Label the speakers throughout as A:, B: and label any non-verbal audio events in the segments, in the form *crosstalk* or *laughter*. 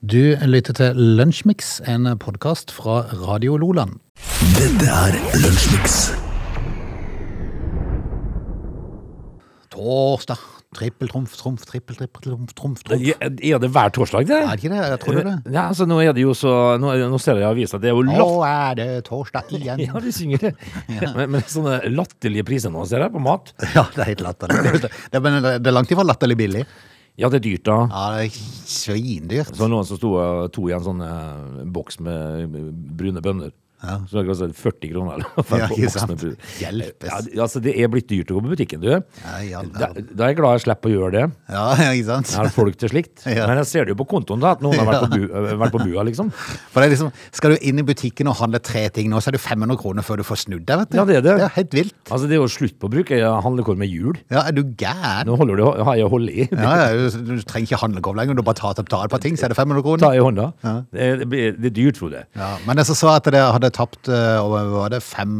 A: Du lytter til Lunsjmix, en podkast fra Radio Loland.
B: Dette er Lunsjmix.
A: Torsdag. Trippel, trumf, trumf, trippel, trippel, trumf, trumf, trumf.
C: Ja, Er det hver torsdag, det?
A: Er det ikke det? Jeg tror det er det.
C: Ja, altså nå er det jo så Nå, er- nå ser jeg i avisa, det er jo
A: Nå er
C: latt... *laughs*
A: det torsdag igjen.
C: Ja, de synger det. Men, men sånne latterlige priser nå, ser jeg, på mat.
A: *laughs* Ja, det er helt latterlig. Det, men det er langt ifra latterlig billig.
C: Ja, det er dyrt, da.
A: Ja, det er svindyrt.
C: Så noen som sto eh, to i en sånn eh, boks med eh, brune bønner. Så det kostet 40 kroner. Eller, noe for en
A: Ja, ikke
C: boks
A: sant.
C: med brune-
A: Hjelpes.
C: Ja, det- altså, det er blitt dyrt å gå på butikken, du.
A: i all
C: Da,
A: verden.
C: da er jeg glad jeg slipper å gjøre det.
A: Ja, *laughs* ikke sant?
C: Jeg har folk til slikt.
A: *laughs* Ja.
C: Men jeg ser det jo på kontoen, da, at noen har vært på, bu, eh, vært på bua, liksom.
A: For det er liksom, Skal du inn i butikken og handle tre ting nå, så er det 500 kroner før du får snudd deg. vet du.
C: Ja, det er det.
A: Det er helt vilt.
C: Altså, det er jo slutt på å bruke handlekår med hjul.
A: Ja, Er du gæren?
C: Nå holder du, har jeg å holde
A: *laughs*
C: i.
A: Ja, ja, du, du trenger ikke handlekort lenger. Du bare tar, tar et par ting, så er det 500 kroner.
C: Ta i hånda. Det, det, blir- det er dyrt, Frode.
A: Ja, men jeg så så at det hadde tapt eh, over- hva var det, fem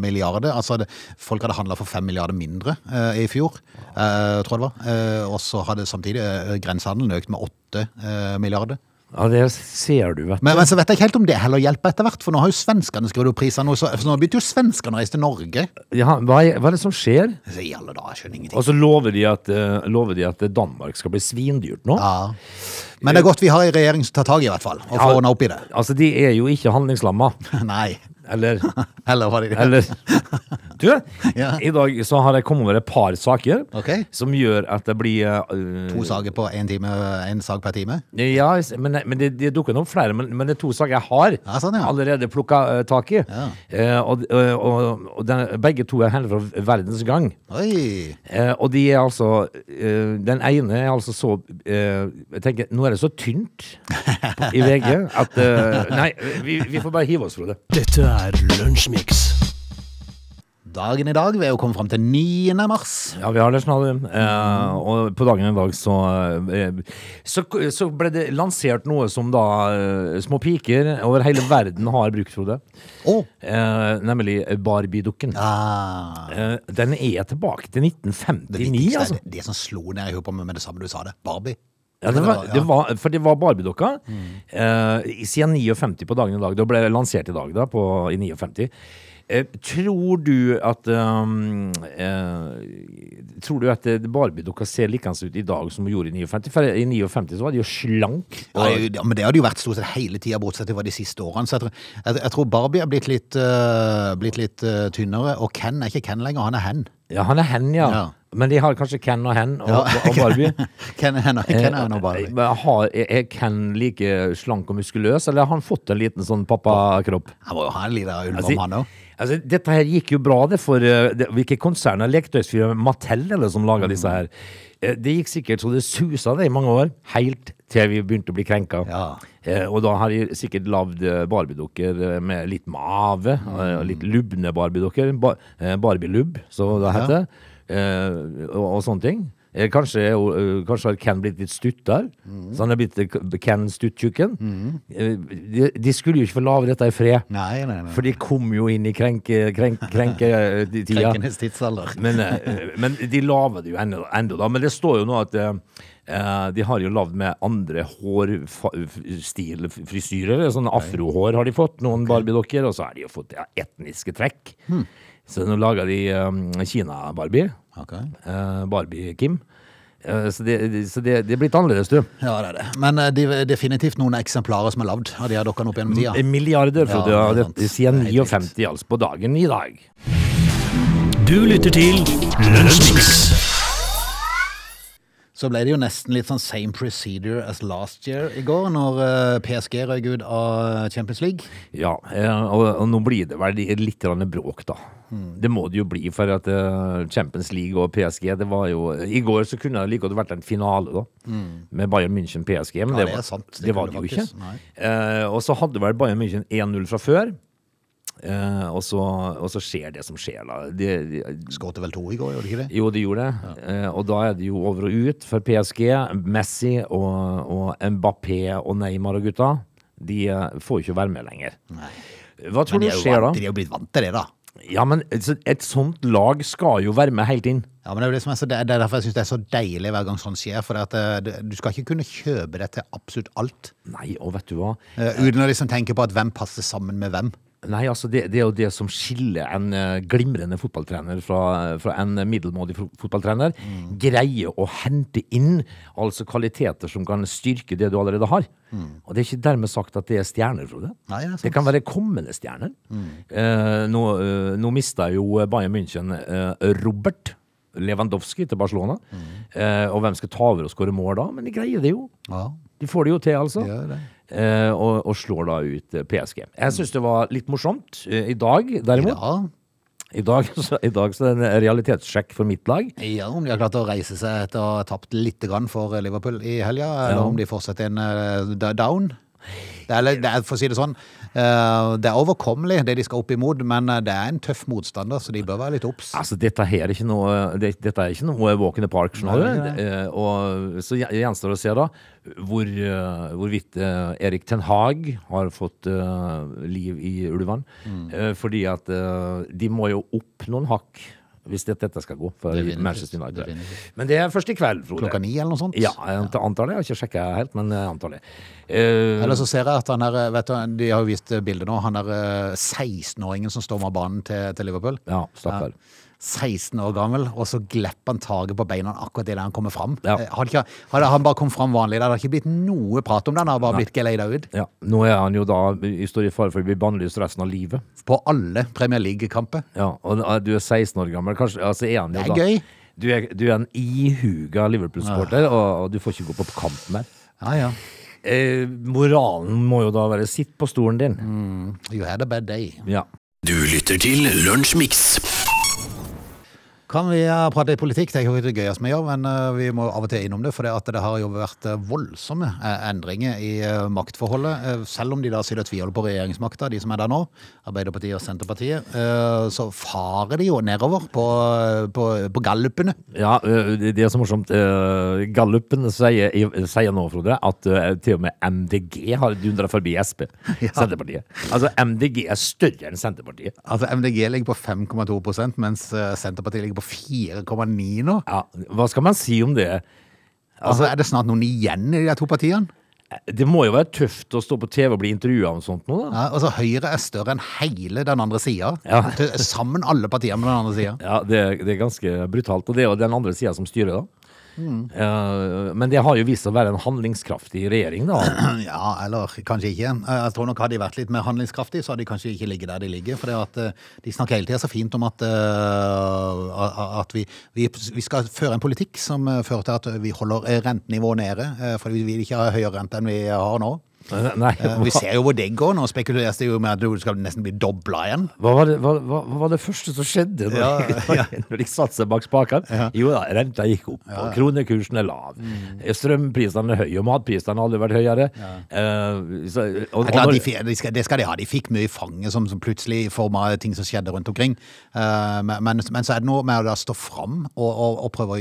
A: milliarder. Altså det, folk hadde handla for fem milliarder mindre eh, i fjor, eh, tror jeg det var. Eh, og så hadde samtidig eh, grensehandelen økt med åtte eh, milliarder.
C: Ja, det ser du, vet du.
A: Men, men så vet jeg ikke helt om det heller hjelper etter hvert, for nå har jo svenskene skrudd opp prisene. Så, så nå begynte jo svenskene å reise til Norge.
C: Ja, hva, er, hva er det som skjer?
A: Så I alle dager, jeg skjønner ingenting.
C: Og så lover de at, eh, lover de at Danmark skal bli svindyrt nå.
A: Ja. Men det er godt vi har en regjering som tar tak i, i hvert fall, og får
C: Ja.
A: ordna opp i det. *laughs*
C: Altså, de er jo ikke handlingslamma.
A: Nei. *laughs*
C: Eller,
A: Heller var de det.
C: eller Du,
A: Ja.
C: i dag så har jeg kommet over et par saker
A: Ok.
C: som gjør at det blir eh,
A: To saker på én time, en sak per time.
C: Ja, men, men det, det dukker opp flere, men, men det er to saker jeg har
A: Ja, sånn, ja.
C: allerede plukka eh, tak i.
A: Ja.
C: Eh, og og, og den, begge to er hentet fra Verdens Gang.
A: Oi.
C: Eh, og de er altså eh, Den ene er altså så eh, Jeg tenker, Nå er det så tynt på- i VG at eh, Nei, vi, vi får bare hive oss, Frode.
B: Dette er Lunsjmix.
A: Dagen i dag, vi er jo kommet fram til 9. mars.
C: Ja, vi har det snart. Eh, og på dagen i dag så, eh, så Så ble det lansert noe som da eh, små piker over hele verden har brukt, Frode.
A: Å!
C: Eh, nemlig Barbie-dukken.
A: Ah,
C: Eh, den er tilbake til 1959,
A: det viktigste
C: altså.
A: er det, det som slo ned i hodet på meg med det samme du sa det. Barbie.
C: Ja, det var, det var, for det var Barbie-dokka.
A: Mm.
C: Eh, i- siden 59 på dagen i dag. Da ble det lansert i dag, da, på, i 59. Eh, tror du at um, eh, Tror du at eh, Barbie-dokka ser likeens ut i dag som hun gjorde i 59? For i 59 så var de jo slank.
A: Ja, det- ja, men det hadde jo vært stort sett hele tida, bortsett fra de siste årene. Så jeg, tror- jeg, jeg tror Barbie er blitt litt, øh, blitt litt øh, tynnere. Og Ken er ikke Ken lenger, han er Hen. *laughs*
C: Ja, han er hen, ja.
A: Ja.
C: Men de har kanskje Ken og hen og, og Barbie.
A: Ken er Hen, og- *laughs* Ken er nå Barbie.
C: Eh, men har, er er Ken like slank og muskuløs, eller har han fått en liten sånn pappakropp?
A: Han må jo ha en liten
C: Altså,
A: ulvemann òg.
C: altså, dette her gikk jo bra, det, for eh, det, hvilke konsern er leketøysfirmaet Mattel eller, som laga disse her? Eh, Det gikk sikkert så det susa det i mange år, helt til vi begynte å bli krenka.
A: Ja.
C: Eh, Og da har de sikkert lagd barbiedukker eh, med litt mave, eh, og litt lubne barbiedukker. Ba eh, Barbielub, som det heter. eh, Og, og sånne ting. Eh, Kanskje, er jo, eh, kanskje har Ken blitt litt stutt der. Så han er blitt eh, Ken Stutt-tjukken. Eh, De, de skulle jo ikke få lage dette i fred.
A: Nei, nei, nei.
C: For de kom jo inn i krenke, krenk, krenketida.
A: Krenkenes tidsalder.
C: Men, eh, men de lager det jo ennå, ennå da. Men det står jo nå at eh, eh, de har jo lagd med andre hårstilfrisyrer. Sånne afrohår har de fått, noen Barbie-dokker. Og så har de jo fått ja, etniske trekk.
A: Hmm.
C: Så nå lager de eh, Kina-Barbie.
A: Ok.
C: eh, Barbie-Kim. Eh, så det, det, så det, det er blitt annerledes, du.
A: Ja, det er det. Men øh, de, definitivt noen eksemplarer som er lagd av de her dokkene opp gjennom tida.
C: Milliarder, Frode.
A: Ja,
C: Ja,
A: det er sant.
C: det, siden
A: Det er helt
C: 59, altså, på dagen i dag.
B: Du lytter til Lunsjmix.
A: Så ble det jo nesten litt sånn same procedure as last year i går, når eh, PSG røyk ut av eh, Champions League.
C: Ja, eh, og, og nå blir det vel litt grann bråk, da.
A: Mm.
C: Det må det jo bli, for at eh, Champions League og PSG det var jo I går så kunne det like godt vært en finale, da. Med Bayern München-PSG, men
A: Mm. Ja,
C: det,
A: det er
C: var,
A: sant. Det
C: det, var det
A: kunne
C: jo
A: faktisk-
C: ikke.
A: nei.
C: Eh, og så hadde vel Bayern München 1-0 fra før. Eh, og, så, og så skjer det som skjer, da. De, de,
A: Skåret vel to i går, gjorde de ikke det?
C: jo, det gjorde det. Eh, Og da er det jo over og ut for PSG. Messi og, og Mbappé og Neymar og gutta, de eh, får jo ikke være med lenger. Hva tror
A: Men
C: du
A: de er, jo
C: skjer
A: vant,
C: da?
A: de er jo blitt vant til det, da.
C: Ja, men et, et sånt lag skal jo være med helt inn.
A: Ja, men det er, jo det, som er, så, det er derfor jeg syns det er så deilig hver gang sånt skjer. For det at, eh, det- du skal ikke kunne kjøpe deg til absolutt alt.
C: Nei, og vet du hva?
A: eh, Uten å liksom tenke på at hvem passer sammen med hvem.
C: Nei, altså det, det er jo det som skiller en eh, glimrende fotballtrener fra, fra en middelmådig fo- fotballtrener.
A: Mm.
C: Greier å hente inn altså kvaliteter som kan styrke det du allerede har. Og det er ikke dermed sagt at det er stjerner, Frode.
A: Mm. Nei, det er sant.
C: kan være kommende stjerner. Eh, nå, eh, nå mista jo Bayern München eh, Robert Lewandowski til Barcelona. Eh, og hvem skal ta over og skåre mål da? Men de greier det jo.
A: Ja,
C: De får det jo til, altså.
A: de gjør det.
C: Eh, og, og slår da ut eh, PSG. Jeg syns det var litt morsomt. Eh, I dag,
A: I
C: derimot
A: dag,
C: I dag, *laughs* så, i dag så er det en realitetssjekk for mitt lag.
A: ja, om de har klart å reise seg etter å ha tapt litt grann for eh, Liverpool i helga, eller om de fortsetter en eh, da- down. Det er, litt- det er, for å si det sånn, eh, det er overkommelig det de skal opp imot, men eh, det er en tøff motstander, så de bør være litt obs.
C: Altså, dette her er ikke noe, det, dette er ikke noe walk in the park. skjønner
A: Nei,
C: du? Eh, og Så gjen- gjenstår det å se da hvor, eh, hvorvidt eh, Erik Ten Hag har fått eh, liv i ulvene.
A: Mm.
C: Eh, fordi at eh, de må jo opp noen hakk hvis dette, dette skal gå for
A: Definitivt.
C: Manchester United.
A: Definitivt.
C: Men det er først i kveld, Frode.
A: Klokka ni eller noe sånt.
C: Ja, jeg ant- antar det. Jeg har ikke sjekka helt, men jeg antar det. Eh,
A: Eller så ser jeg at han er, eh, vet du, de har jo vist bildet nå, han er eh, 16-åringen som stormer banen til, til Liverpool.
C: ja, stakkar.
A: 16 år gammel, og så glepper han taget på beina akkurat idet han kommer fram.
C: Ja.
A: Eh, Hadde, ikke, hadde han bare kommet fram vanlig, det hadde ikke blitt noe prat om det, han hadde bare blitt geleida ut.
C: Ja. Nå er han jo da i står i fare for å bli bannlyst resten av livet.
A: På alle Premier League-kamper.
C: Ja, og da- du er 16 år gammel. Kanskje, altså er han
A: Det
C: jo
A: er
C: da,
A: gøy.
C: Du er, du er en ihuga Liverpool-supporter, og, og du får ikke gå på kamp mer.
A: Ja, ja.
C: Eh, moralen må jo da være sitt på stolen din.
A: Mm. You had a bad day.
C: Ja.
B: Du lytter til Lunsjmix.
A: Kan vi eh, prate litt politikk? Det er ikke det gøyeste vi gjør, men eh, vi må av og til innom det. For det, at det har jo vært eh, voldsomme eh, endringer i eh, maktforholdet. eh, Selv om de da sier de tviholder på regjeringsmakta, de som er der nå, Arbeiderpartiet og Senterpartiet, eh, så farer de jo nedover på, eh, på, på gallupene.
C: Ja, ø, det det er så morsomt. ø, Gallupen sier, i- sier nå, Frode, at ø, til og med MDG har dundra forbi Sp.
A: *laughs*
C: Senterpartiet. Altså, MDG er større enn Senterpartiet.
A: Altså MDG ligger på 5,2 mens eh, Senterpartiet ligger på 4,9 nå.
C: Ja, hva skal man si om det?
A: Altså Er det snart noen igjen i de to partiene?
C: Det må jo være tøft å stå på TV og bli intervjua om sånt nå, da.
A: Ja, altså Høyre er større enn hele den andre sida. *laughs*
C: Ja.
A: Sammen alle partiene med den andre
C: *clears throat*
A: sida.
C: Ja, det, er- det er ganske brutalt. Og det er jo den andre sida som styrer, da.
A: Mm.
C: Eh, men det har jo vist seg å være en handlingskraftig regjering, da.
A: Ja, eller kanskje ikke. Jeg tror nok Hadde de vært litt mer handlingskraftige, så hadde de kanskje ikke ligget der de ligger. For det at eh, de snakker hele tida så fint om at, eh, at vi, vi, vi skal føre en politikk som eh, fører til at vi holder eh, rentenivået nede. eh, For vi vil ikke ha høyere rente enn vi har nå.
C: Eh, Nei,
A: Eh, Vi
C: *laughs* hva,
A: ser jo hvor det går. Nå spekuleres det jo med at du skal nesten bli dobla igjen.
C: hva, var det, hva, hva hva var det første som skjedde når,
A: Ja,
C: *laughs*
A: ja.
C: når de satte seg bak spakene? Jo da, renta gikk opp, og kronekursen er lav.
A: Mm.
C: Eh, Strømprisene er høye, og matprisene har aldri vært høyere. Eh, så, og,
A: Det, er klart, de,
C: og når-
A: fi- de skal, det skal de ha. De fikk mye i fanget som, som plutselig i form av ting som skjedde rundt omkring. Eh, men, men, men så er det noe med å da stå fram og, og, og prøve å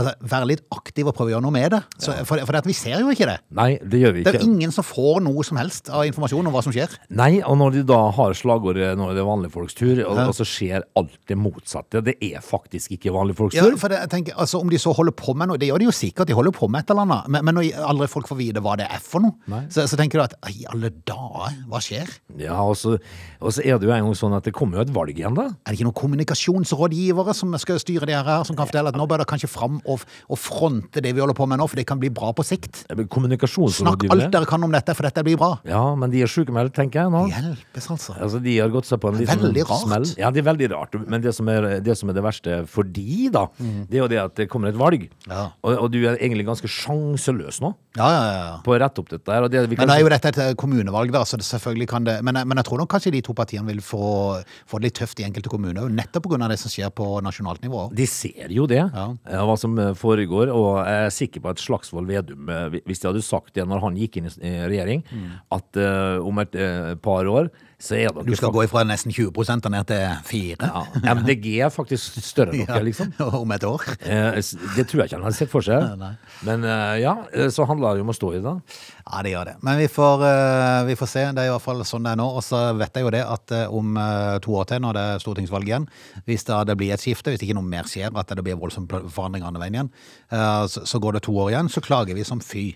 A: altså, være litt aktiv og prøve å gjøre noe med det. Så, For, for det at vi ser jo ikke det.
C: nei, det gjør vi
A: Det er jo
C: ikke.
A: ingen som får noe som helst av informasjon om hva som skjer.
C: Nei, og når de da har slagordet 'nå er det vanlige folks tur', og, og så skjer alt det motsatte. Det er faktisk ikke vanlige folks
A: Ja,
C: tur.
A: for det, jeg tenker, altså, Om de så holder på med noe Det gjør de jo sikkert, de holder på med et eller annet. Men, men når aldri folk får vite hva det er for noe, så, så tenker du at i alle dager, hva skjer?
C: Ja, og så, og så er det jo en gang sånn at det kommer jo et valg igjen, da.
A: Er det ikke noen kommunikasjonsrådgivere som skal styre det her, som kan fortelle at nå bør dere kanskje fram og, og fronte det vi holder på med nå, for det kan bli bra på sikt? Snakk alt
C: Kommunikasjonsrådgivere.
A: dere kan om dette, for dette blir bra.
C: Ja, men de er sykemeldt, tenker jeg nå.
A: Hjelpes, altså.
C: Altså, de har gått seg på en
A: Det er
C: liten
A: veldig rart.
C: smell. Ja, det er veldig rart. Men det som er det, som er det verste for de, da, det er jo det at det kommer et valg.
A: Mm. Ja.
C: Og, og du er egentlig ganske sjanseløs nå
A: Ja, ja, ja.
C: på å rette opp dette her. Og det, vi
A: Men
C: kan,
A: nå er jo dette et eh, kommunevalg, da, så det selvfølgelig kan det Men, jeg- men jeg tror nok kanskje de to partiene vil få, få det litt tøft i enkelte kommuner, jo, nettopp pga. det som skjer på nasjonalt nivå.
C: de ser jo det,
A: Ja.
C: eh, hva som eh, foregår, og jeg er sikker på at Slagsvold Vedum, eh, hvis de hadde sagt det når han gikk inn i, eh, regjering
A: Mm.
C: at eh, om et eh, par år så er dere
A: Du skal
C: fakt-
A: gå ifra nesten 20 og ned til 4
C: ja, MDG er faktisk
A: *laughs*
C: større enn dere, liksom.
A: om et år.
C: Eh, s- det tror jeg ikke han hadde sett for seg.
A: Nei,
C: Men eh, ja, eh, så handler det jo om å stå i det. da.
A: Ja, det gjør det. Men vi får, eh, vi får se. Det er i hvert fall sånn det er nå. Og så vet jeg jo det at eh, om eh, to år til, når det er stortingsvalg igjen, hvis da det blir et skifte, hvis ikke noe mer skjer, at det blir voldsomme pl- forandringer andre veien igjen, eh, så, så går det to år igjen, så klager vi som fy.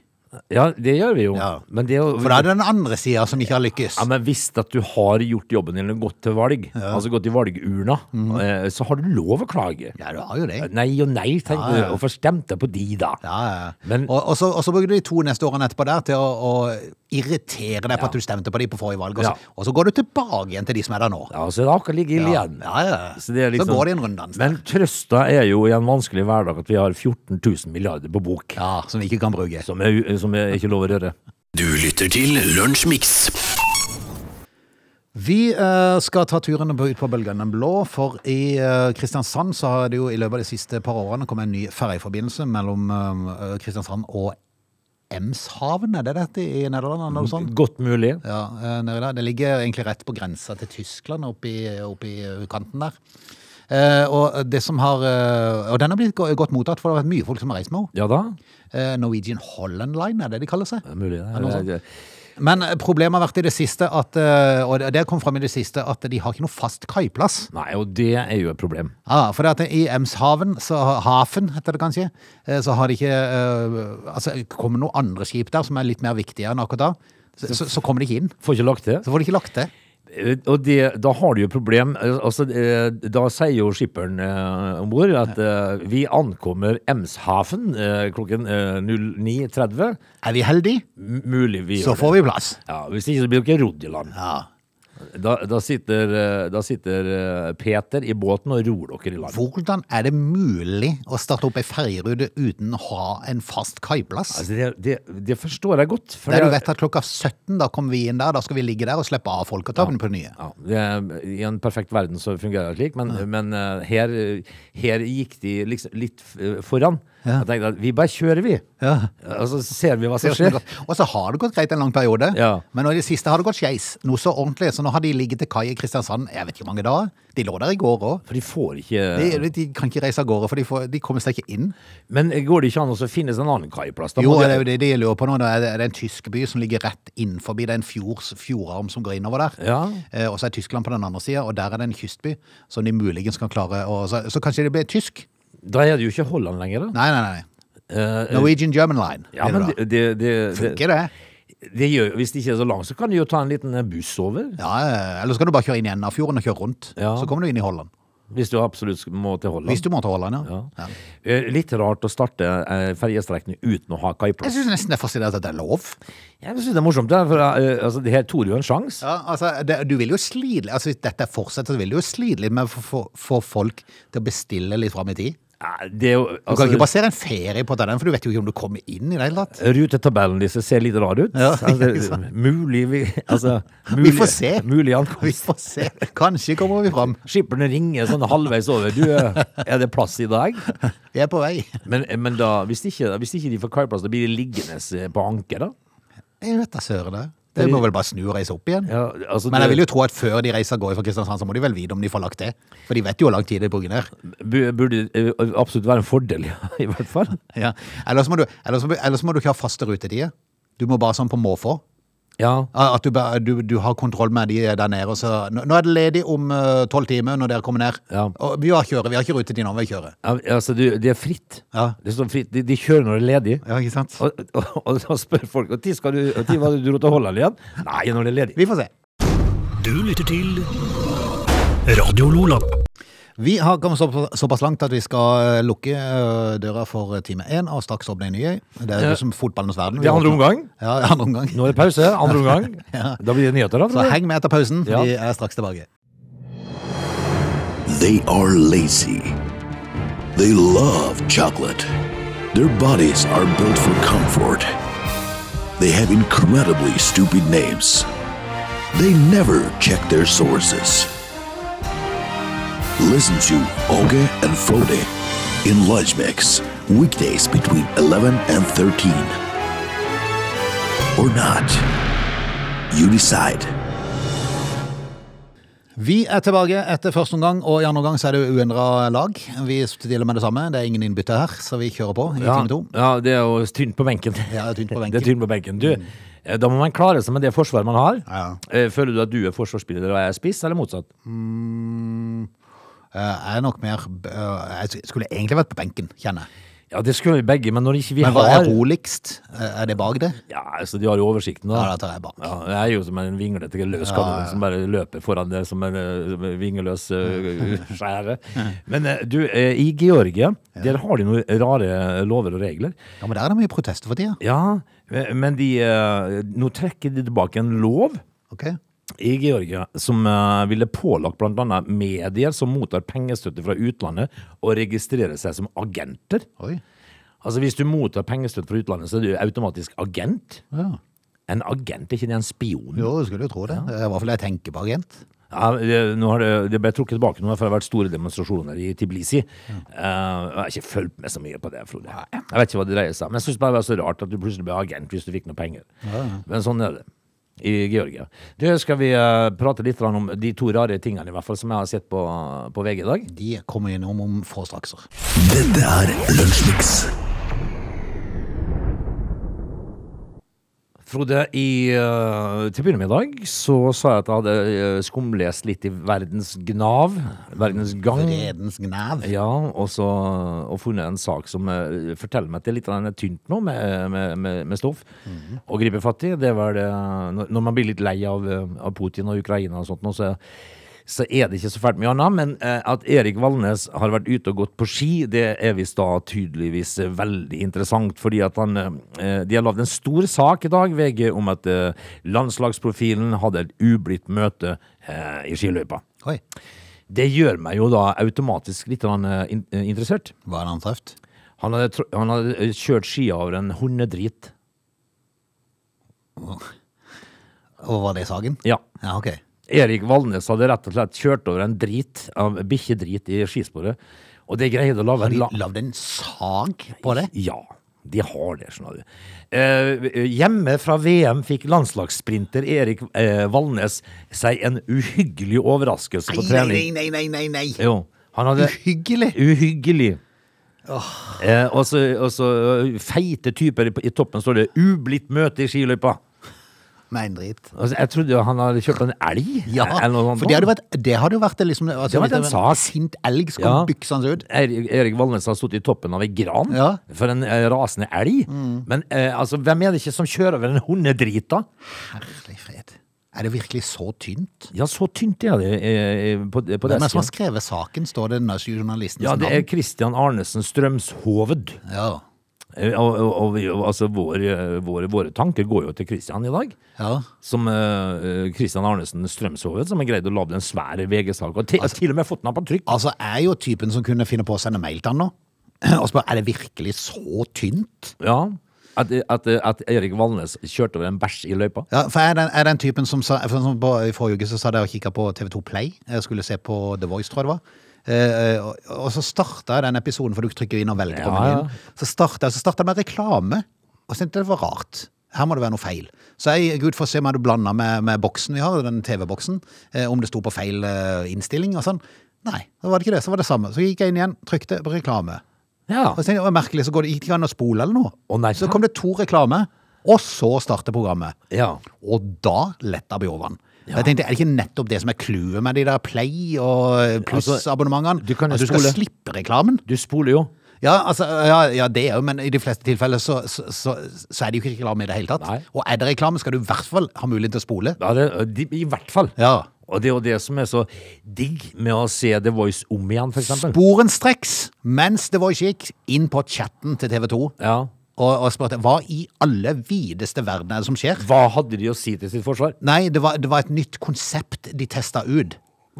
C: Ja, det gjør vi jo.
A: Ja.
C: Men det er jo
A: For da er det den andre sida som ikke har lykkes.
C: Ja, men hvis at du har gjort jobben din og gått til valg, altså gått i valgurna, eh, så har du lov å klage.
A: Mhm.
C: Eh,
A: Ja, du har jo det.
C: Nei og nei, tenk
A: Ja, ja.
C: du, og få stemt deg på de, da.
A: Ja, ja.
C: Men-
A: og, og, så, og så bruker du de to neste årene etterpå der til å, å irritere deg på at du stemte på de på forrige valg, og så,
C: Ja.
A: og så går du tilbake igjen til de som er der nå.
C: Ja, så er det akkurat like ille igjen.
A: Ja, ja.
C: Så, det er liksom,
A: går det en runddans.
C: Men trøsta er jo i en vanskelig hverdag at vi har 14 000 milliarder på bok,
A: Ja, som vi ikke kan bruke.
C: som, er, som er ikke lov å røre.
B: Du lytter til Lunsjmix.
A: Vi eh, skal ta turen på- ut på bølgen den blå, for i eh, Kristiansand så har det jo i løpet av de siste par årene kommet en ny ferjeforbindelse mellom eh, Kristiansand og Emshaven, er det dette i Nederland? Eller noe sånt?
C: Godt mulig.
A: Ja, eh, nedi der. Det ligger egentlig rett på grensa til Tyskland, oppi, oppi eh, kanten der. Eh, og det som har eh, Og den har blitt go- godt mottatt, for det har vært mye folk som har reist med henne.
C: Ja da.
A: Eh, Norwegian Holland Line er det de kaller seg.
C: Det er mulig, det.
A: Er det noe sånn? sånt?
C: Det-
A: Men eh, problemet har vært i det siste, at, eh, og det- det kom fram i det siste, at de har ikke noe fast kaiplass.
C: Nei, og det er jo et problem.
A: Ja, for det at i Emshaven, så Hafen heter det kanskje, eh, så har de ikke eh, Altså, det kommer noen andre skip der som er litt mer viktige enn akkurat da. Så, så, så kommer de ikke inn.
C: Får ikke lagt det.
A: Så får de ikke lagt det.
C: Eh, Og det, da har du jo problem. Eh, Altså, eh, da sier jo skipperen eh, om bord at eh, vi ankommer Emshaven eh, klokken eh, 09.30.
A: Er vi heldige,
C: M- Mulig vi
A: så
C: gjør det.
A: får vi plass.
C: Ja, hvis ikke så blir dere rodd i land.
A: Ja.
C: Da, da sitter, eh, da sitter eh, Peter i båten og ror dere i land.
A: Hvordan er det mulig å starte opp ei ferjerute uten å ha en fast kaiplass?
C: Altså, det, det, det forstår jeg godt. For
A: Der du
C: det-
A: vet at klokka 17 da kommer vi inn der, da skal vi ligge der og slippe av folk og ta den på nye.
C: Ja, det er, I en perfekt verden så fungerer det slik, men, men eh, her, her gikk de liksom litt eh, foran. Jeg tenkte at vi bare kjører, vi.
A: Ja.
C: Og så ser vi hva som
A: Det er
C: skjer.
A: jo sånn. *laughs* Og så har det gått greit en lang periode,
C: Ja.
A: men nå i det siste har det gått skeis. Noe så ordentlig. Så nå har de ligget til kai i Kristiansand jeg vet ikke hvor mange dager. De lå der i går òg.
C: For de får ikke
A: De, de kan ikke reise av gårde, for de, får, de kommer seg ikke inn.
C: Men går det ikke an å så finnes en annen kaiplass? Da må
A: Jo,
C: de-
A: det er jo det de lurer på nå. Det er det- er det en tysk by som ligger rett innenfor. Det er en fjords, fjordarm som går innover der.
C: Ja.
A: Eh, og så er Tyskland på den andre sida, og der er det en kystby som de muligens kan klare å Så, så kanskje det blir tysk?
C: Da er det jo ikke Holland lenger, da.
A: Nei, nei, nei.
C: Eh,
A: Norwegian German Line.
C: ja,
A: blir
C: men
A: det da.
C: det, det, det, det,
A: Funker det?
C: gjør, Hvis det ikke er så langt, så kan de jo ta en liten eh, buss over.
A: Ja, eh, eller så kan du bare kjøre inn i enden av fjorden og kjøre rundt.
C: Ja.
A: Så kommer du inn i Holland.
C: Hvis du absolutt må til Holland.
A: Hvis du må til Holland, ja.
C: Ja. Eh, Litt rart å starte eh, ferjestrekning uten å ha
A: Jeg
C: kaiplass.
A: syns nesten det er fascinerende at det er lov.
C: Jeg syns det er morsomt, det, for eh, altså, det her tok jo en sjanse.
A: Ja, altså, det, du vil jo slide, altså Hvis dette fortsetter, så vil du jo slite litt med å få- få få folk til å bestille litt fram i tid.
C: Nei, Det er jo,
A: Du
C: altså,
A: kan ikke basere en ferie på den, for du vet jo ikke om du kommer inn i det hele tatt.
C: Rutetabellen disse ser litt rar ut.
A: Ja, *laughs* ikke
C: altså,
A: sant.
C: mulig vi, altså,
A: *laughs* Vi
C: mulig,
A: får se.
C: Mulig
A: Vi
C: ankomst.
A: får se. Kanskje kommer vi fram.
C: Skipperne ringer sånn halvveis over. Du, eh, er det plass i
A: *laughs*
C: dag?
A: Vi er på vei.
C: Men, eh, men da, hvis ikke, hvis ikke de får kaiplass, da blir de liggende eh, på anker, da?
A: Jeg vet da søren det. De må vel bare snu og reise opp igjen.
C: Ja, altså,
A: Men jeg
C: det-
A: vil jo tro at før de reiser av gårde fra Kristiansand, så må de vel vite om de får lagt det. For de vet jo hvor lang tid det bruker der.
C: bu- burde eh, absolutt være en fordel, *laughs* ja, i hvert fall.
A: Ja. Ellers, må du, ellers, må, ellers må du ikke ha faste rutetider. Du må bare sånn på måfå.
C: Ja.
A: Ja, At du, bare- du, du har kontroll med de der nede. Og så, nå nå er det ledig om eh, tolv timer når dere kommer ned.
C: Ja.
A: Og vi har kjøret, vi har ikke rutetid nå, vi kjører.
C: Ja, Altså, du, det er fritt.
A: Ja.
C: Det står fritt. De, de kjører når det er ledig.
A: Ja, ikke sant?
C: Og, og, og da spør folk når skal du, og tid var det du dro til Holland igjen? Nei, når det er ledig.
A: Vi får se.
B: Du lytter til Radio Lola.
A: Vi har kommet så, såpass langt at vi skal eh, lukke eh, døra for time én og straks åpne en ny øy. Det er
C: Ja.
A: jo som fotballens verden.
C: Det er andre omgang.
A: Ja, i andre omgang.
C: Nå er det pause,
A: *laughs*
C: andre omgang. Da blir det nyheter, da.
A: Så
C: tror jeg.
A: heng med etter pausen.
C: Ja.
A: Vi er straks tilbake.
B: They are lazy. They love chocolate. Their bodies are built for comfort. They have incredibly stupid names. They never check their sources. Listen to Oge and Frode in Lunch Mix, weekdays between 11 and 13. or not. You decide.
A: Vi er tilbake etter første omgang, og i andre omgang så er det uendra lag. Vi stiller med det samme, det er ingen innbytte her, så vi kjører på i
C: Ja,
A: time to.
C: ja, det er jo tynt på benken.
A: Ja, det er tynt på benken. Mm.
C: *laughs* Det er tynt på benken. Du, eh, da må man klare seg med det forsvaret man har.
A: Ja.
C: Eh, Føler du at du er forsvarsspiller og jeg er spiss, eller motsatt?
A: Eh, Jeg er nok mer eh, Jeg skulle egentlig vært på benken, kjenner jeg.
C: Ja, det skulle vi begge, men når ikke vi
A: Men hva er
C: har
A: roligst? Eh, Er det bak det?
C: Ja, altså, de har jo oversikten, da.
A: Ja, da tar jeg bak.
C: Ja, jeg er jo som en vinglete løs kanon som bare løper foran det som en eh, som en vingeløs eh, skjære. Men eh, du, eh, i Georgia, der har de noen rare lover og regler.
A: Ja, Men der er det mye protester for tida.
C: Ja, eh, men de eh, Nå trekker de tilbake en lov
A: Ok?
C: i Georgia som eh, ville pålagt bl.a. medier som mottar pengestøtte fra utlandet, å registrere seg som agenter.
A: Oi.
C: Altså Hvis du mottar pengestøtte fra utlandet, så er du automatisk agent.
A: Ja.
C: En agent, er ikke det en spion?
A: Jo, jeg skulle jo tro det. Det er I hvert fall jeg tenker på agent.
C: Ja, det, nå har det, det ble trukket tilbake nå, for det har vært store demonstrasjoner i Tiblisi. Eh, jeg har ikke fulgt med så mye på det, Frode. Jeg vet ikke hva det dreier seg om. Men jeg syns bare det var så rart at du plutselig ble agent hvis du fikk noe penger. Men sånn er det i Georgia. Du, skal vi eh, prate litt grann om de to rare tingene i hvert fall som jeg har sett på, på VG i dag?
A: De kommer innom om få strakser.
B: Dette er Lunsjmix.
C: Frode, i, eh, til å begynne med i dag så sa jeg at jeg hadde eh, skumlest litt i Verdens Gnav. Verdens Gang.
A: Redens gnav.
C: Ja, og, så, og funnet en sak som eh, forteller meg at det er litt grann tynt nå med, med, med, med stoff å gripe fatt i. Det er vel, eh, når- når man blir litt lei av, eh, av Putin og Ukraina og sånt, nå, så, så er det ikke så fælt mye annet. Men eh, at Erik Valnes har vært ute og gått på ski, det er visst da tydeligvis eh, veldig interessant. Fordi at han, eh, de har lagd en stor sak i dag, VG, om at eh, landslagsprofilen hadde et ublidt møte eh, i skiløypa.
A: Oi.
C: Det gjør meg jo da automatisk litt grann, eh, in eh, interessert.
A: Hva er det han traff?
C: Han hadde, tr- han hadde eh, kjørt skia over en hundedrit.
A: Og var det sagen?
C: Ja.
A: Ja, ok.
C: Erik Valnes hadde rett og slett kjørt over en drit, av bikkjedrit, i skisporet. Og det greide å lage
A: Har
C: en
A: de
C: la...
A: lagd en sag på det?
C: Ja, de har det, skjønner du. Eh, eh, hjemme fra VM fikk landslagssprinter Erik eh, Valnes seg en uhyggelig overraskelse på
A: Nei,
C: trening.
A: nei, nei, nei, nei. nei.
C: Jo, han hadde...
A: Uhyggelig.
C: Uhyggelig. Eh, og så og så, ø, feite typer i- i toppen står det 'ublidt møte i skiløypa'.
A: Nei, en drit.
C: Altså, jeg trodde jo han hadde kjøpt en elg. eh,
A: Ja,
C: eller noe sånt.
A: for det hadde vært, det hadde jo vært det liksom, altså,
C: Det hadde vært en
A: hvis
C: sak.
A: sint elg som
C: Ja.
A: kom byksende ut.
C: Erik, Erik Valnes har sittet i toppen av ei gran
A: Ja. Mm.
C: for en eh, rasende elg. Men eh, altså, hvem er det ikke som kjører over en hundedrit, da?
A: Herlig fred. Er det virkelig så tynt?
C: Ja, så tynt er det eh, på, på
A: Hvem er det som
C: desken.
A: har skrevet saken, står det denne journalistens
C: Ja, det er
A: navn?
C: Christian Arnesen Strømshoved.
A: Ja.
C: Eh, Og, og, og vi- altså, vår, eh, våre, våre tanker går jo til Christian i dag.
A: ja.
C: Som eh, Kristian Arnesen Strømshovet, som har greid å lage en svær VG-sak. Og til, til og med fått den opp på trykk.
A: Altså, jeg er jo typen som kunne finne på å sende mail til han nå. *clears throat* Og spørre, er det virkelig så tynt?
C: Ja, at, at, at Erik Valnes kjørte over en bæsj i løypa.
A: Ja, for jeg er den, jeg er den typen som sa for sånn på, I forrige uke så sa jeg og kikka på TV2 Play. Jeg skulle se på The Voice, tror jeg det var. Eh, og, og så starta jeg den episoden, for du trykker inn og velger på
C: Ja,
A: menyen. Så starta jeg så startet jeg med reklame, og syntes det var rart. Her må det være noe feil. Så jeg gikk ut for å se om jeg hadde blanda med, med boksen vi har, den TV-boksen, eh, om det sto på feil eh, innstilling og sånn. Nei, da var det ikke det. Så var det samme. Så gikk jeg inn igjen, trykte på reklame.
C: Ja.
A: Og så tenkte jeg, «Å, merkelig, så går det ikke an å spole eller noe.
C: Å, nei,
A: så kom det to reklame, og så starter programmet.
C: ja.
A: Og da letta Bjorvann. Jeg tenkte, Er det ikke nettopp det som er clouet med de der Play og plussabonnementene?
C: Altså, du kan jo
A: at du skal
C: spole.
A: slippe reklamen?
C: Du spoler jo.
A: Ja, altså, ja, ja det er jo, men i de fleste tilfeller så, så, så, så er det jo ikke reklame i det hele tatt.
C: Nei.
A: Og er det reklame, skal du i hvert fall ha mulighet til å spole.
C: Ja, det, de, I hvert fall.
A: Ja.
C: Og det er jo det som er så digg med å se The Voice om igjen, for eksempel.
A: Sporenstreks, mens The Voice gikk, inn på chatten til TV 2 og,
C: Ja.
A: og spurte hva i alle videste verden er det som skjer?
C: Hva hadde de å si til sitt forsvar?
A: Nei, det var, det var et nytt konsept de testa ut.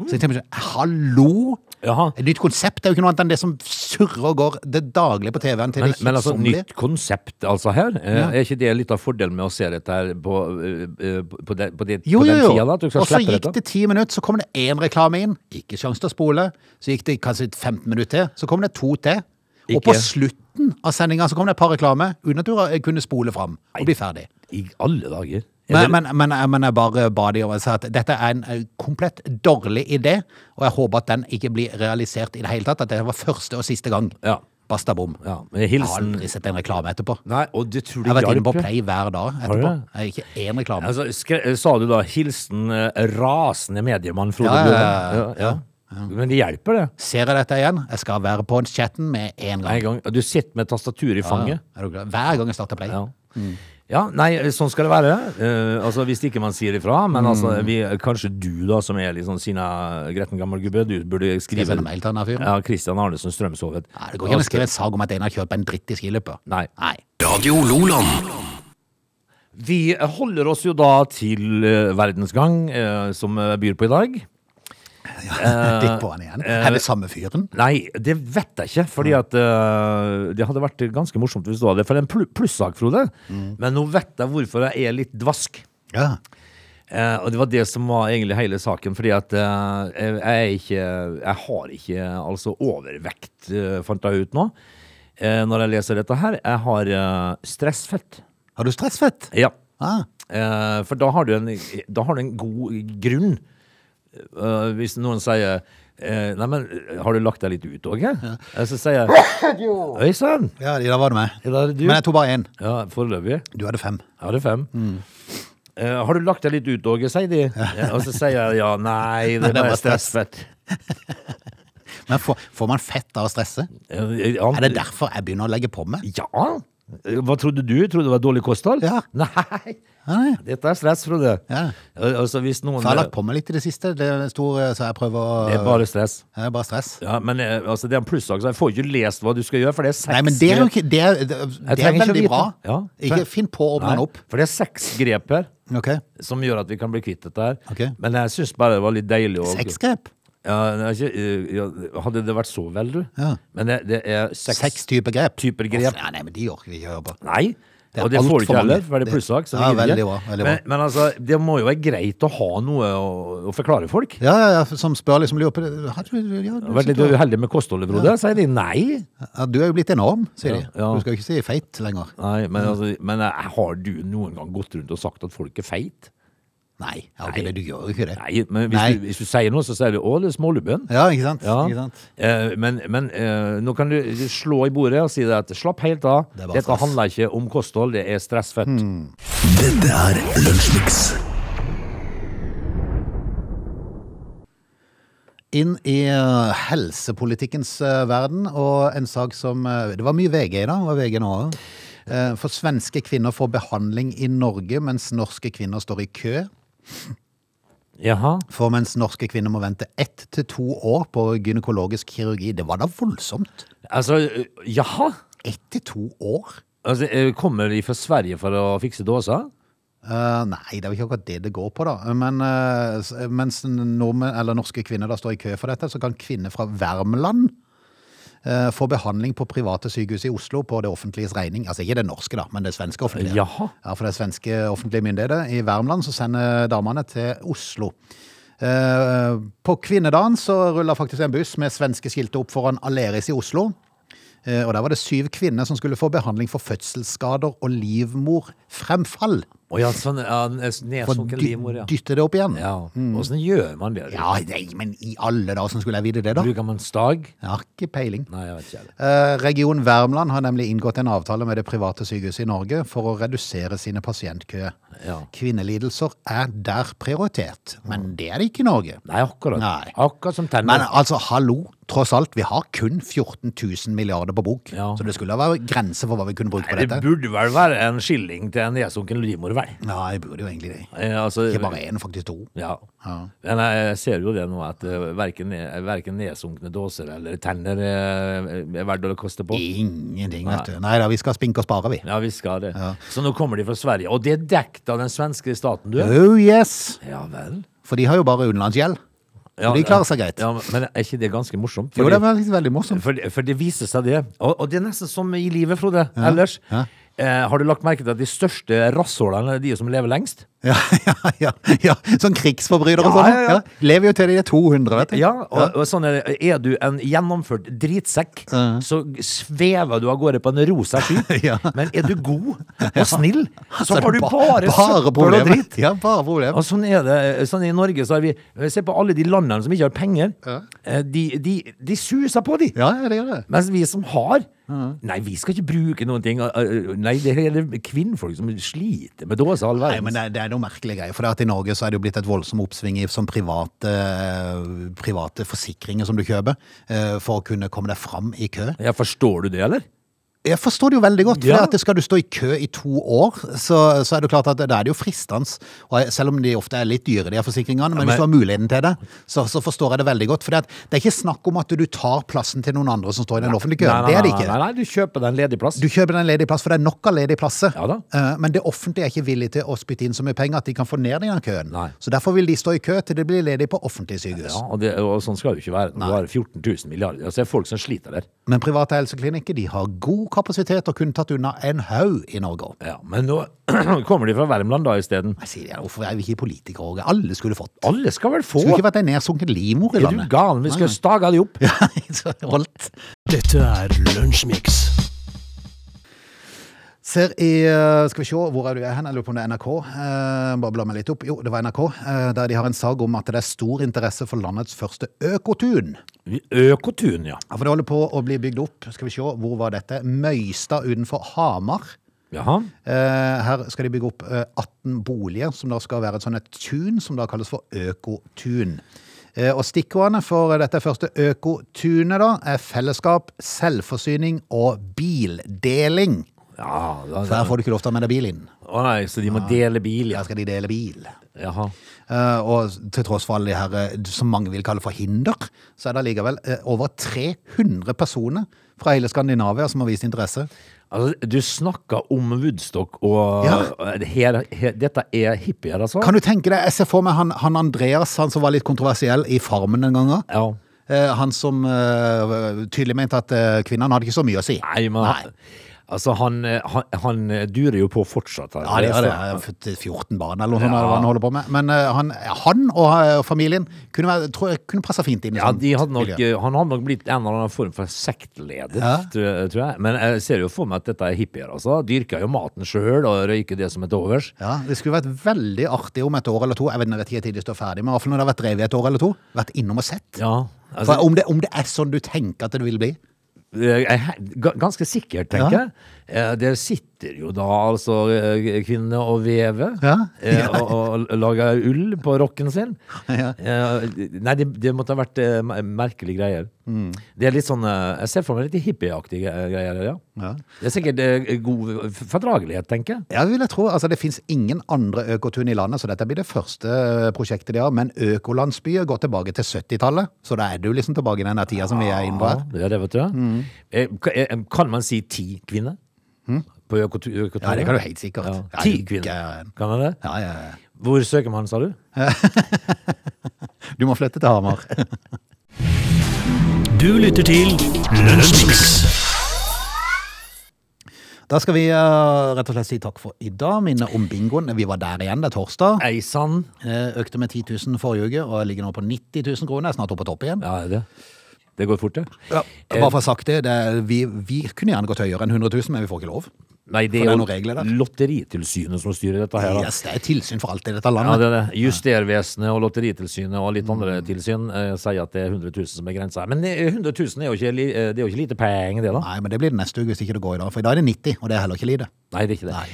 A: Så jeg tenkte, sånn, hallo?
C: Jaha.
A: Et nytt konsept er jo ikke noe annet enn det som surrer og går det daglige på TV-en til
C: Men,
A: det
C: men altså,
A: kjedsommelige.
C: nytt konsept altså her. Eh, Er ikke det litt av fordelen med å se dette her på, eh, eh, på, de, på, de,
A: Jo,
C: på
A: jo,
C: den
A: jo.
C: tida? Da, at du skal
A: Og så
C: slippe
A: gikk
C: dette?
A: det ti minutter, så kom det én reklame inn. Ikke sjanse til å spole. Så gikk det kanskje 15 minutter til. Så kom det to til. Og
C: Ikke-
A: på slutten slutten av sendinga kom det et par reklame. Unatura jeg kunne spole fram og bli ferdig.
C: I alle dager. Er
A: Men,
C: det-
A: men, men, men jeg bare ba de om å si at dette er en eh, komplett dårlig idé, og jeg håper at den ikke blir realisert i det hele tatt. At det var første og siste gang.
C: Ja.
A: Basta bom.
C: ja, men
A: Jeg har
C: hilsen
A: aldri sett en reklame etterpå.
C: Nei, og det tror du
A: Jeg har vært inne på
C: hjalp, ja.
A: Play hver dag
C: du
A: etterpå.
C: det?
A: Jeg har Ikke én reklame.
C: Altså, skre, sa du da 'hilsen eh, rasende mediemann Frode
A: Ja, ja, ja,
C: Blødal'? Men det hjelper, det.
A: Ser jeg dette igjen? Jeg skal være på chatten med en gang.
C: En gang, du sitter med tastaturet i fanget.
A: Er du glad? Hver gang jeg starter Play.
C: Ja.
A: Mm.
C: ja, nei, sånn skal det være. Eh, altså, Hvis ikke man sier ifra. Men
A: Mm.
C: altså, vi, kanskje du, da, som er litt sånn sinna gretten gammel gubbe, du burde
A: Skal jeg
C: skrive
A: sende mail til denne fyren?
C: Ja, Christian Arnesen Strømsovet.
A: Nei, det går ikke an å skrive en sag om at en har kjørt på en dritt i skiløpet.
C: Nei.
A: Nei.
B: Radio Loland.
C: Vi holder oss jo da til eh, Verdens gang, eh, som eh, byr på i dag.
A: Ditt på han igjen. Er det samme fyren?
C: Nei, det vet jeg ikke, fordi at eh, det hadde vært ganske morsomt hvis du hadde det. For det er en pl- plussak, Frode. Men nå vet jeg hvorfor jeg er litt dvask.
A: Ja.
C: Eh, og det var det som var egentlig hele saken, fordi at eh, jeg, er ikke, jeg har ikke altså overvekt, eh, fant jeg ut nå, eh, når jeg leser dette her. Jeg har eh, stressfett.
A: Har du stressfett?
C: Ja.
A: Ah.
C: Eh, for da har, du en, da har du en god grunn. Eh, hvis noen sier eh, Nei, men har du lagt deg litt ut òg? Så
A: *coughs*
C: sier jeg Oi sann!
A: Ja, da var det meg.
C: er det du?
A: Men jeg tok bare én.
C: Ja, foreløpig.
A: Du hadde fem.
C: Jeg hadde fem.
A: Mm.
C: Eh, har du lagt deg litt ut, Åge, sier de. Ja, og så sier jeg ja, nei,
A: *laughs* Nei,
C: det,
A: det
C: er
A: var
C: bare stressfett.
A: Men får, får man fett av å stresse?
C: Eh, eh, han-
A: Er det derfor jeg begynner å legge på meg?
C: Ja. Eh, Hva trodde du? Trodde det var dårlig kosthold?
A: Ja.
C: Nei,
A: Ja, nei.
C: dette er stress, Frode.
A: Ja.
C: Al- Altså, hvis noen
A: For jeg har lagt på meg litt i det siste, det er stor, så jeg prøver å
C: Det er bare stress.
A: Det er bare stress.
C: Ja, men eh, altså, det er en plussak, så jeg får ikke lest hva du skal gjøre, for det er seks
A: Nei, men det er jo
C: grep.
A: ikke Det er, det er,
C: Jeg
A: det er
C: trenger ikke å
A: veldig
C: vite.
A: bra.
C: Ja.
A: Ikke finn på å åpne den
C: Nei,
A: opp.
C: For det er seks grep her
A: Ok.
C: som gjør at vi kan bli kvitt dette her.
A: Ok.
C: Men jeg syns bare det var litt deilig å
A: Sexgrep.
C: Ja, det er ikke, eh, ja, hadde det vært så vel, du.
A: Ja.
C: Men det, det er seks,
A: Seks typer grep.
C: typer grep.
A: Ja, nei, men de orker vi ikke høre på.
C: Nei.
A: Det er
C: og det
A: alt
C: får
A: for
C: du ikke heller,
A: mange.
C: for det er
A: Det-
C: plussak. så
A: Ja,
C: det gidder
A: veldig
C: jeg.
A: bra, veldig bra.
C: Men, men altså, det må jo være greit å ha noe å, å forklare folk.
A: Ja, ja, ja, som spør liksom lurer på det. Har du, ja, du,
C: Vært litt
A: sitter-
C: uheldig med kostholdet, Frode. Sier de nei.
A: ja, du er jo blitt enorm, sier de.
C: Ja, ja.
A: Du skal jo ikke si feit lenger.
C: Nei, men, altså, men eh, har du noen gang gått rundt og sagt at folk er feit?
A: Nei, ja, ok, det, du gjør jo ikke det.
C: Nei, men hvis,
A: Nei.
C: Du, hvis du sier noe, så sier du 'å, det
A: *laughs*
C: er smålubben'.
A: Ja, ikke sant?
C: Ja.
A: Ikke sant?
C: Eh, men men eh, nå kan du slå i bordet og si det at 'slapp helt av'.
A: Det er bare
C: Dette
A: stress. Mm.
C: handler ikke om kosthold, det er stressfett.
B: Dette er Lunsjmix.
A: Inn i eh, helsepolitikkens eh, verden, og en sak som eh, Det var mye VG i dag, var VG nå også. Eh, For svenske kvinner får behandling i Norge, mens norske kvinner står i kø.
C: Jaha.
A: For mens norske kvinner må vente ett til to år på gynekologisk kirurgi. Det var da voldsomt!
C: Altså, eh, jaha?
A: Ett til to år?
C: Altså, eh, kommer de fra Sverige for å fikse dåser?
A: Eh, nei, det er jo ikke akkurat det det går på, da. Men eh, s- mens nordmenn, eller norske kvinner da står i kø for dette, så kan kvinner fra Värmland eh, få behandling på private sykehus i Oslo på det offentliges regning. Altså ikke det norske, da, men det svenske offentlige.
C: Jaha.
A: Ja, For det er svenske offentlige myndigheter i Värmland som sender damene til Oslo. Eh, På kvinnedagen så rulla faktisk en buss med svenske skilter opp foran Aleris i Oslo. Eh, Og der var det syv kvinner som skulle få behandling for fødselsskader og livmorfremfall.
C: Å ja, sånn ja, en nedsunken livmor, ja.
A: dytte det opp igjen.
C: ja. Åssen gjør man det?
A: Mm. Ja, nei, men i alle dager, hvordan skulle jeg vite det, da?
C: Bruker man stag?
A: Jeg har ikke peiling.
C: Nei, jeg vet ikke. heller.
A: Eh, Region Värmland har nemlig inngått en avtale med det private sykehuset i Norge for å redusere sine pasientkøer.
C: Ja.
A: Kvinnelidelser er der prioritert, men det er det ikke i Norge.
C: Nei, akkurat.
A: Nei.
C: Akkurat som
A: Men
C: tenner.
A: altså, hallo, tross alt, vi har kun 14 000 milliarder på bok,
C: Ja.
A: så det skulle være grenser for hva vi kunne bruke på
C: Nei, det
A: dette.
C: burde vel være en skilling til en nedsunken livmor, vel?
A: Ja, jeg burde jo egentlig det.
C: Eh, altså,
A: Ikke bare én, faktisk to.
C: Ja.
A: Ja.
C: Men jeg ser jo det nå, at eh, verken, eh, verken nedsunkne dåser eller tenner eh, er verdt å koste på.
A: Ingenting, vet du. Nei da, vi skal spinke og spare, vi.
C: Ja, vi skal det. Så nå kommer de fra Sverige. Og det er dekt av den svenske staten, du.
A: Oh yes!
C: Ja vel.
A: For de har jo bare utenlandsgjeld.
C: Ja,
A: de klarer seg greit.
C: Ja, men er ikke det ganske morsomt?
A: Jo, det var faktisk veldig morsomt.
C: For, for det viser seg det. Og, og det er nesten som i livet, Frode. Ellers.
A: Ja.
C: Eh, har du lagt merke til at de største rasshålene er de som lever lengst?
A: Ja, *laughs* ja, ja, ja. Sånn krigsforbrytere og
C: Ja,
A: sånn.
C: ja,
A: Ja,
C: ja.
A: Lever jo til de er 200, vet du.
C: Ja, og, og sånn er, det. er du en gjennomført dritsekk, så svever du av gårde på en rosa sky.
A: *laughs* Ja.
C: Men er du god og snill,
A: *laughs*
C: så
A: er
C: har
A: det
C: du
A: ba-
C: bare søppel og
A: problemer.
C: dritt.
A: Ja, bare problemer.
C: Og sånn er det. Sånn I Norge så har vi Se på alle de landene som ikke har penger. Eh, De, de, de suser på, de.
A: Ja, ja, det gjør det.
C: Mens vi som har Nei, vi skal ikke bruke noen ting. Eh, eh, Nei, det er det kvinnfolk som sliter med dåse all
A: Nei, men
C: verden.
A: det, er- det er noe merkelige greier. For det at i Norge så er det jo blitt et voldsomt oppsving i sånn private, private forsikringer som du kjøper eh, for å kunne komme deg fram i kø.
C: Ja, forstår du det, eller?
A: Jeg forstår det jo veldig godt. For
C: Ja.
A: det at det skal du stå i kø i to år, så, så er det jo klart at da er det jo fristende. Og jeg- selv om de ofte er litt dyre, de her forsikringene. Men,
C: men-
A: hvis du har muligheten til det, så, så forstår jeg det veldig godt. For det, at det er ikke snakk om at du tar plassen til noen andre som står i den offentlige køen.
C: nei,
A: Det er det
C: nei,
A: ikke.
C: Nei, nei, du kjøper deg en ledig plass.
A: Du kjøper den ledige plass, for det er nok av ledige plasser.
C: Ja da.
A: Eh, Men det offentlige er ikke villig til å spytte inn så mye penger at de kan få ned den køen.
C: Nei.
A: Så derfor vil de stå i kø til det blir ledig på offentlige sykehus.
C: Ja, og, det, og sånn skal det jo ikke være. Når du har 14 000 milliarder, altså det er folk som sliter der.
A: Men private helseklinikker de har god kapasitet og kunne tatt unna en haug i Norge.
C: Ja, men nå *clears throat* kommer de fra Värmland da isteden.
A: Jeg sier, ja, hvorfor er vi ikke politikere, Åge? Alle skulle fått.
C: Alle skal vel få?
A: Det skulle ikke vært en nedsunken livmor i
C: Er du
A: landet.
C: gal? Vi skal stage de opp.
A: *laughs* Ja, så holdt.
D: Dette er Lunsjmix.
A: Ser i eh, Skal vi se, hvor er du er hen? Jeg lurer på om det er NRK. Eh, bare bla meg litt opp. Jo, det var NRK. eh, der de har en sag om at det er stor interesse for landets første økotun.
C: Økotun, ja.
A: Ja, for det holder på å bli bygd opp. Skal vi se, hvor var dette? Møystad utenfor Hamar.
C: Jaha.
A: Eh, her skal de bygge opp eh, 18 boliger, som da skal være et sånt et tun, som da kalles for økotun. Eh, og stikkordene for dette første økotunet da, er fellesskap, selvforsyning og bildeling.
C: Ja, da,
A: For her får du ikke lov til å ha med deg bil inn.
C: Å nei, så de må dele bil, ja.
A: Her skal de dele bil.
C: Jaha.
A: Eh, og til tross for alle de her, eh, som mange vil kalle for hinder, så er det allikevel eh, over 300 personer fra hele Skandinavia som har vist interesse.
C: Altså, du snakka om Woodstock og
A: Ja.
C: her, her, Dette er hippier, altså?
A: Kan du tenke deg, jeg ser for meg han, han Andreas, han som var litt kontroversiell i Farmen den gangen.
C: Ja.
A: Eh, han som eh, tydelig mente at eh, kvinnene hadde ikke så mye å si.
C: Nei, men Altså, han, han, han durer jo på fortsatt. her.
A: Ja, det er det. Jeg har fått 14 barn eller noe sånt, eller hva han holder på med. Men eh, han, han og eh, familien kunne, være, tror jeg, kunne passe fint inn i
C: Ja,
A: sånt
C: de hadde nok,
A: miljø.
C: han hadde nok blitt en eller annen form for sektleder,
A: Ja.
C: tror, jeg- tror jeg. Men jeg ser jo for meg at dette er hippier, altså. Dyrker jo maten sjøl og røyker det som er til overs.
A: Ja, det skulle vært veldig artig om et år eller to. Jeg vet jeg vet ikke tid de står ferdig, men i hvert fall når det har vært drevet i et år eller to. Vært innom og sett.
C: Ja,
A: For
C: altså,
A: om det, om det er sånn du tenker at det vil bli.
C: jeg, jeg- ga- ganske sikkert, tenker
A: Ja.
C: jeg. Eh, Der sitter jo da altså eh, kvinnene og vever
A: Ja.
C: eh, og, og lager ull på rocken sin.
A: *laughs* Ja.
C: Eh, Nei, det, det måtte ha vært eh, mer- merkelige greier.
A: Mm.
C: Det er litt sånn eh, Jeg ser for meg litt hippieaktige eh, greier, ja.
A: Ja.
C: Det er sikkert eh, god fordragelighet, tenker jeg.
A: Ja, vil jeg tro. Altså, det finnes ingen andre økotun i landet, så dette blir det første eh, prosjektet de har. Men økolandsbyer går tilbake til 70-tallet, så da er du liksom tilbake i den der tida som vi er inne på her.
C: Ja, det er det, vet du.
A: Mm.
C: Eh, ka- eh, Kan man si ti kvinner? På økotu- økoturen?
A: Ja, det kan du helt sikkert.
C: Ja.
A: Ja,
C: Ti
A: du
C: kvinner,
A: gæren.
C: kan man det?
A: Ja, ja, ja.
C: Hvor søker man, sa du?
A: Du må flytte til Hamar.
D: Du lytter til Lunsjmix.
A: *laughs* Da skal vi eh, rett og slett si takk for i dag. Minne om bingoen. Vi var der igjen, det er torsdag.
C: Eisan.
A: Eh, Økte med 10 000 forrige uke, og jeg ligger nå på 90 000 kroner. Jeg er snart oppe på topp igjen.
C: Ja, er det. Det går fort, det.
A: Ja, bare for å ha sagt det, det er, vi, vi kunne gjerne gått høyere enn 100 000, men vi får ikke lov.
C: Nei,
A: For det
C: det er
A: er
C: jo
A: noen regler der.
C: Lotteritilsynet som styrer dette her. da.
A: Yes, det er tilsyn for alt i dette
C: Ja,
A: landet.
C: det er det. Justervesenet og Lotteritilsynet og litt andre tilsyn eh, sier at det er 100 000 som er grensa. Men eh, 100 000 er jo ikke, li- eh, det er jo ikke lite penger, det, da.
A: Nei, men det blir det neste uke hvis ikke det går i dag, for i dag er det 90, og det er heller ikke lite.
C: Nei, det er ikke det.
A: Nei.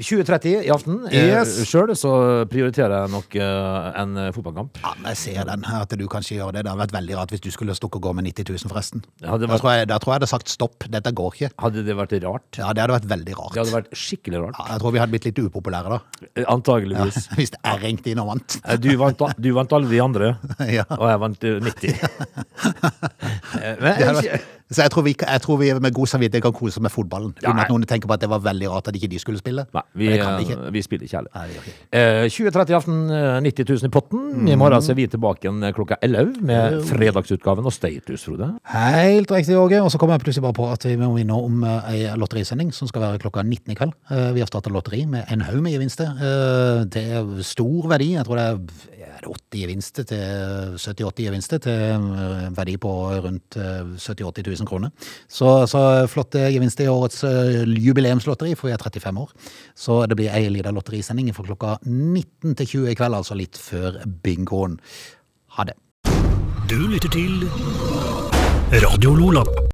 C: 2030 i aften.
A: Yes.
C: Eh, Sjøl så prioriterer jeg nok eh, en eh, fotballkamp.
A: Ja, men jeg ser den, at du kanskje gjør det. Det hadde vært veldig rart hvis du skulle stukket og gå med 90 000 forresten.
C: Ja, det
A: Da
C: var-
A: tror jeg, da tror jeg det hadde sagt stopp, dette går ikke.
C: Hadde det vært rart?
A: Ja, det hadde vært veldig rart.
C: Det hadde vært skikkelig rart.
A: Ja, jeg tror vi hadde blitt litt upopulære da, *laughs*
C: Eh, Antageligvis.
A: hvis jeg ringte inn og vant. *laughs*
C: Eh, Du vant, a- du vant alle de andre,
A: *laughs* Ja.
C: og jeg vant eh, 90. Eh,
A: Det
C: Men,
A: hadde vært- Så jeg tror, vi, jeg tror vi med god samvittighet kan kose oss med fotballen.
C: Ja,
A: Uten at
C: nei.
A: noen tenker på at det var veldig rart at ikke de skulle spille.
C: Nei, vi,
A: Men det kan de ikke.
C: eh, vi spiller ikke heller.
A: Nei, det gjør ikke. Mm.
C: Eh, 20.30 i aften, eh, 90 000 i potten. I morgen så er vi tilbake igjen eh, klokka 11 med fredagsutgaven og status, Frode.
A: Helt riktig, Åge. Og så kommer jeg plutselig bare på at vi må minne om eh, ei lotterisending som skal være klokka 19 i kveld. Eh, Vi har starta lotteri med en haug med gevinster. Eh, Det er stor verdi. Jeg tror det er er det 80 gevinster til 70-80 gevinster til en verdi på rundt eh, 70 000-80 000 kroner. Så, så flotte gevinster i årets eh, jubileumslotteri, for vi er 35 år. Så det blir ei lita lotterisending fra klokka 19 til 20 i kveld, altså litt før bingoen. Ha det.
D: Du lytter til Radio Lola.